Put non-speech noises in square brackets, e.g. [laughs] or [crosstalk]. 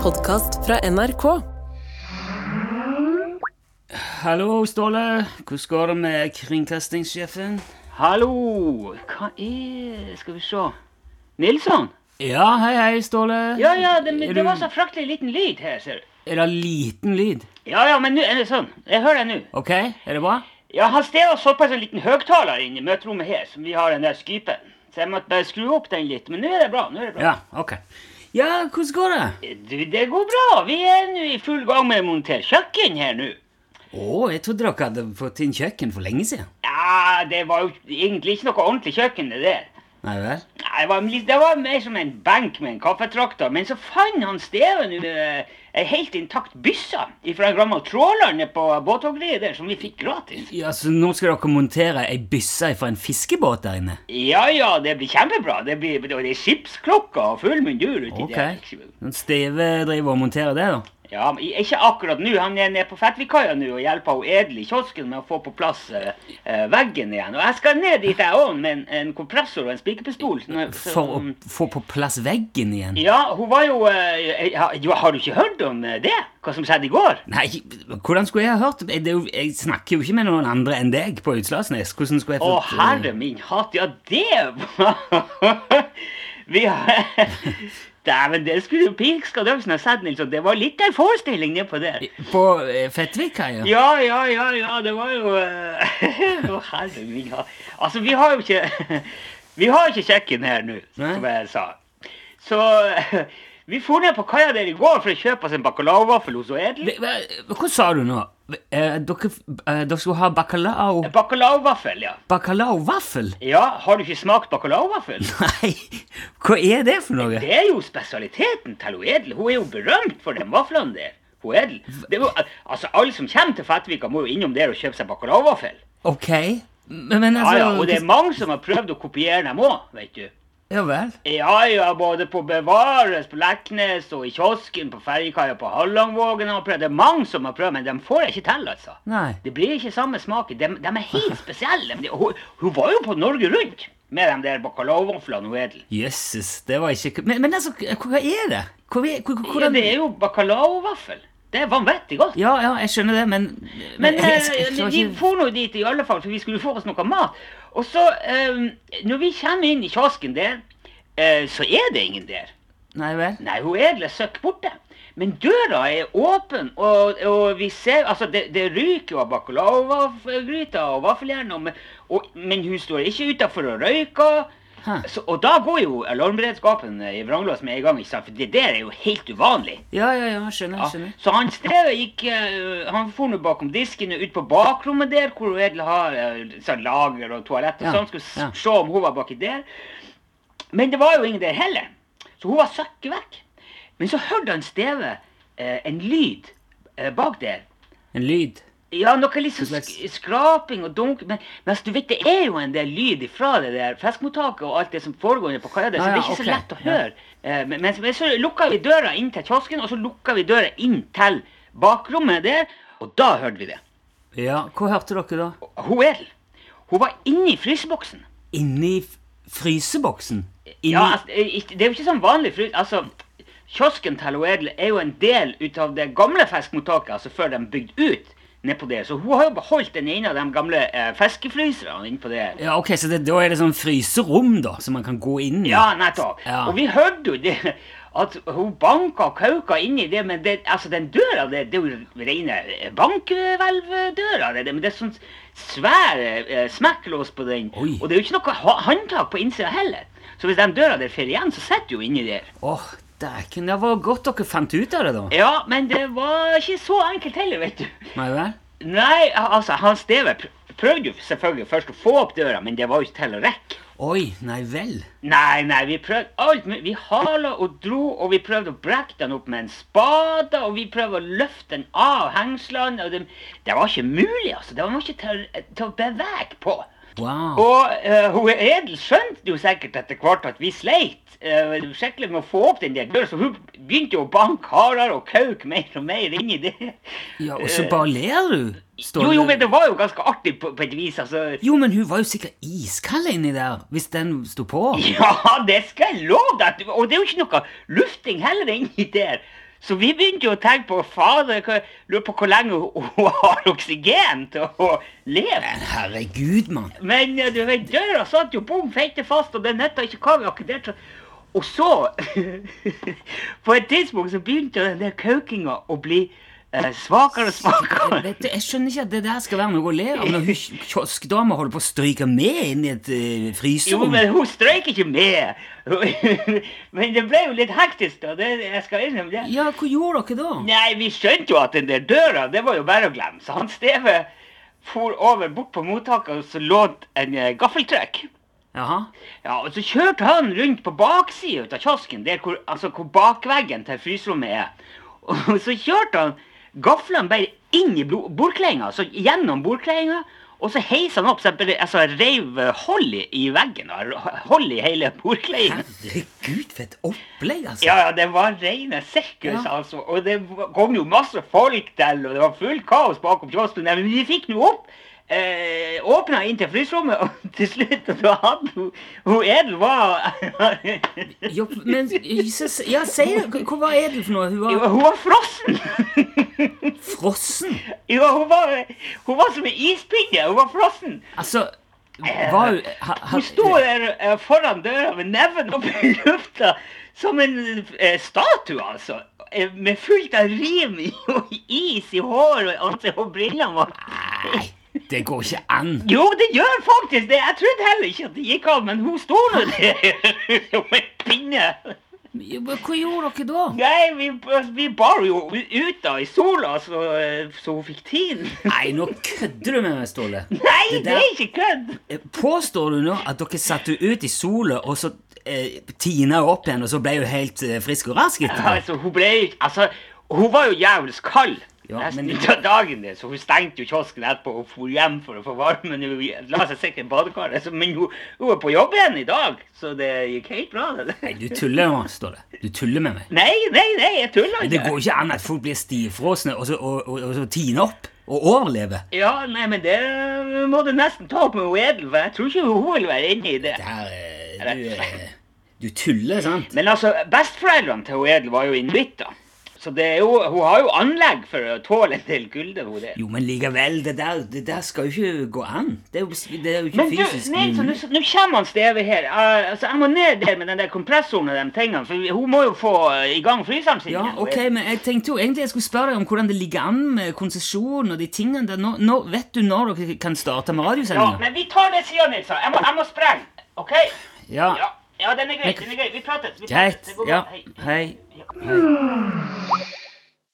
podkast fra NRK. Hallo, Ståle. Hvordan går det med kringkastingssjefen? Hallo! Hva er Skal vi se Nilsson? Ja, hei, hei, Ståle. Ja, ja, det, men Er det du- var så fryktelig liten lyd her, ser du. Er det liten lyd? Ja, ja, men nå er det sånn. Jeg hører deg nå. OK, er det bra? Ja, han steg oss såpass en liten høgtaler inne i møterommet her, som vi har den der skypen. Så jeg måtte bare skru opp den litt, men nå er det bra. nå er det bra. Ja, OK. Ja, hvordan går det? Du, det går bra. Vi er nå i full gang med å montere kjøkken her nå. Å, jeg trodde dere hadde fått inn kjøkken for lenge siden. Ja, det var jo egentlig ikke noe ordentlig kjøkken, det der. Nei vel? Nei, det var, litt- det var mer som en benk med en kaffetrakter. Men så fant han Steven eh, ei helt intakt bysse fra en gammel tråler nede på båthoggeriet der, som vi fikk gratis. Ja, Så nå skal dere montere ei bysse fra en fiskebåt der inne? Ja ja, det blir kjempebra. Det blir, og det er skipsklokka og full mundur uti OK. der. Men Steve driver og monterer det, da? Ja, men Ikke akkurat nå. Han er nede på Fettvikaia nå og hjelper hun Edel i kiosken med å få på plass eh, eh, veggen igjen. Og jeg skal ned dit jeg òg med en, en kompressor og en spikerpistol. sånn- For å sånn- få på plass veggen igjen? Ja, hun var jo eh, ja, jo, Har du ikke hørt om eh, det? Hva som skjedde i går? Nei, hvordan skulle jeg ha hørt? Det er jo, jeg snakker jo ikke med noen andre enn deg på Utslagsnes. Hvordan skulle jeg Å, fått eh, herre min hatt, ja, det var [laughs] Vi har [laughs] Dæven, det skulle jo pirka Dømsen ha sett, Nilsson. Det var litt av en forestilling nedpå der. På eh, Fettvikaia? Ja, ja, ja, ja, det var jo eh, [laughs] Å, herre min hatt. Altså, vi har jo ikke [laughs] Vi har ikke kjøkken her nå, som Nei. jeg sa. Så [laughs] vi for ned på kaia der i går for å kjøpe oss en bacalao-vaffel hos Edel. Det- hva- Hva sa du nå? Eh, dere, eh, dere skulle ha bacalao Bacalao-vaffel, ja. Bacalao-vaffel? Ja, Har du ikke smakt bacalao-vaffel? [laughs] Nei, hva er det for noe? Det er jo spesialiteten til hun Edel. Hun er jo berømt for den vaflene der. Hun Edel. Det er jo, al- altså, alle som kommer til Fettvika, må jo innom der og kjøpe seg bacalao-vaffel. Ok, men, men Ja, altså ja, og det er mange som har prøvd å kopiere dem òg, vet du. Ja vel. Ja, ja, både på Bevares, på Leknes og i kiosken, på ferjekaia på Hallangvågen. har prøvd. Det er mange som har prøvd, men de får jeg ikke til, altså. Nei. Det blir ikke samme smaken. De, de er helt spesielle. Men det- Hun, hun var jo på Norge Rundt med de der bacalao-vaflene, hun Edel. Jøsses, det var ikke Men, men altså, hva er det? Hva, er- hva, hva- Ja, hvordan det er jo bacalao-vaffel. Det er vanvittig godt. ja, ja, jeg skjønner det, men Men jeg- jeg- eh, jeg- jeg- vi for nå dit i alle fall, for vi skulle få oss noe mat. Og så, eh, når vi kommer inn i kiosken der, eh, så er det ingen der. Nei vel. Nei, hun Edel er søkk borte. Men døra er åpen, og, og vi ser Altså, det, det ryker jo av bacalao-gryta og vaffeljern, og, og, men hun står ikke utafor og røyker. Hæ. Så, og da går jo alarmberedskapen i vranglås med en gang, ikke sant? for det der er jo helt uvanlig. Ja, ja, ja, skjønner, Ja, skjønner. så han Steve gikk eh, Han for nå bakom disken og ut på bakrommet der, hvor hun egentlig har eh, sånn lager og toalett og Ja, sånn. Skulle s- ja. se om hun var baki der. Men det var jo ingen der heller, så hun var søkket vekk. Men så hørte han Steve eh, en lyd eh, bak der. En lyd. Ja, noe litt sånn Hva slags- sk skraping og dunk Men, men altså, du vet, det er jo en del lyd ifra det der fiskemottaket og alt det som foregår nede på kaia der, Ja, så det er ja, ikke ok. så lett å Ja. høre. Eh, Men, men, men så lukka vi døra inn til kiosken, og så lukka vi døra inn til bakrommet der, og da hørte vi det. Ja, hva hørte dere da? Hun Edel, hun var inni fryseboksen. Inni f- fryseboksen? Inni Ja, altså, eh, ikke- det er jo ikke sånn vanlig frys... Altså, kiosken til hun Edel er jo en del ut av det gamle fiskemottaket, altså før de bygde ut nedpå der. Så hun har jo beholdt den ene av de gamle eh, fiskefryserne innpå der. Ja, ok, så det, da er det sånn fryserom, da, som man kan gå inn i? Ja, nettopp. Ja. Og vi hørte jo det, at hun banka og kauka inni det, men det, altså den døra, det, det er jo rene bankhvelvdøra. Det, det, men det er sånn svær eh, smekklås på den. Oi. Og det er jo ikke noe ha håndtak på innsida heller. Så hvis den døra der faller igjen, så sitter du jo inni der. Åh, dæken, det var godt dere fant ut av det, da. Ja, men det var ikke så enkelt heller, vet du. Nei vel? Nei, al- altså, han Steve pr- prøvde jo selvfølgelig først å få opp døra, men det var jo ikke til å rekke. Oi, nei vel. Nei, nei, vi prøvde alt. mulig. Vi hala og dro, og vi prøvde å brekke den opp med en spade, og vi prøvde å løfte den av hengslene, og det, det var ikke mulig, altså. Det var ikke til, til å bevege på. Wow. Og eh, hun Edel skjønte jo sikkert etter hvert at vi sleit eh, skikkelig med å få opp den der døra, så hun begynte jo å banke hardere og kauke mer og mer inni det. Ja, og så bare ler du, Ståle. Jo, jo, men det var jo ganske artig på, på et vis, altså. Jo, men hun var jo sikkert iskald inni der, hvis den sto på. Ja, det skal jeg love deg! at du- Og det er jo ikke noe lufting heller inni der. Så vi begynte jo å tenke på fader, hva- lurer på hvor lenge hun hun har oksygen til å leve. Men herregud, mann. Men eh, du vet, døra satt jo bom feite fast, og den netta ikke hva vi aktiverte. Og så, [laughs] på et tidspunkt, så begynte den der kaukinga å bli eh, svakere og svakere. Vet du, jeg skjønner ikke at det der skal være noe å le av når hun kioskdama holder på å stryke med inn i et uh, Jo, fryserom. men hun strøyk ikke med. [laughs] men det ble jo litt hektisk, da. Det, jeg skal innrømme det. Ja, hva gjorde dere da? Nei, vi skjønte jo at den der døra, det var jo bare å glemme. Så han Steve for over bort på mottaket og så lånte en eh, gaffeltrekk. Jaha. Ja, og så kjørte han rundt på baksida av kiosken, der hvor, altså, hvor bakveggen til fryserommet er. Og så kjørte han gaflene bare inn i blo- bordkledinga, så gjennom bordkledinga. Og så heisa han opp, så jeg bare, altså jeg reiv eh, hold i i veggen. da, Hold i hele bordkledinga. Herregud, for et opplegg, altså. Ja, ja, det var rene sirkus, Ja. altså. Og det v- kom jo masse folk til, og det var fullt kaos bakom kiosken. Nei, Men vi fikk nå opp. Eh, åpna inn til fryserommet, [laughs] og til slutt og da hadde hun, hun Edel var [laughs] Jo, men Jesus, ja, si det. Hva- Hva var Edel for noe? Hun Jo, var Hun var frossen! [laughs] frossen. Jo, hun var, hun var som en ispinne. Hun var frossen. Altså, var hun ha- ha- Hun sto der eh, foran døra med neven opp i lufta som en eh, statue, altså. Eh, Med fullt av rim i- og is i håret og ansikt og brillene var Nei, det går ikke an. Jo, det gjør faktisk det! Jeg trodde heller ikke at det gikk an, men hun sto nå der [laughs] som en pinne. Jo, men Hva gjorde dere da? Nei, vi, vi bar jo ut da i sola, så, eh, så hun fikk tid. Nei, nå kødder du med meg, Ståle. Nei, Det det der- er ikke kødd! Påstår du nå at dere satte henne ut i sola, og så eh, tina hun opp igjen, og så ble hun helt eh, frisk og rask etterpå? Altså, hun ble ikke Altså, hun var jo jævlig kald. Ja, Nesten men- ut av dagen der, så hun stengte jo kiosken etterpå og for hjem for å få varmen. Hun la seg sikkert i badekaret, så- men hun, hun er på jobb igjen i dag, så det gikk helt bra. Nei, det. du tuller nå, Ståle. Du tuller med meg. Nei, nei, nei, jeg tuller Det ikke. går ikke an at folk blir stivfrosne og så, og, og, og så tiner opp og overlever. Ja, nei, men det må du nesten ta opp med hun Edel, for jeg tror ikke hun vil være inne i det. Det her eh, du, eh, du tuller, sant? Men altså, besteforeldrene til hun Edel var jo inuitter. Så det er jo, hun har jo anlegg for å tåle en del kulde, hun der. Jo, men likevel, det der, det der skal jo ikke gå an. Det er jo, det er jo ikke Men du, fysisk nei, så nå mulig. nå kommer han Steve her. Eh, altså, jeg må ned der med den der kompressoren og de tingene, for vi- hun må jo få eh, i gang fryseren sin. Ja, igjen, hun ok, Edel. men jeg tenkte jo egentlig jeg skulle spørre deg om hvordan det ligger an med konsesjon og de tingene der. Nå, nå vet du når dere kan starte med Ja, radiosendinger? men vi tar det siden, Nilsa. Jeg må, jeg må spreng. OK? Ja, Ja, ja den er grei. Men- Den er grei. Vi prates. Vi prates. greit. Det går bra. Ja, Hei. hei.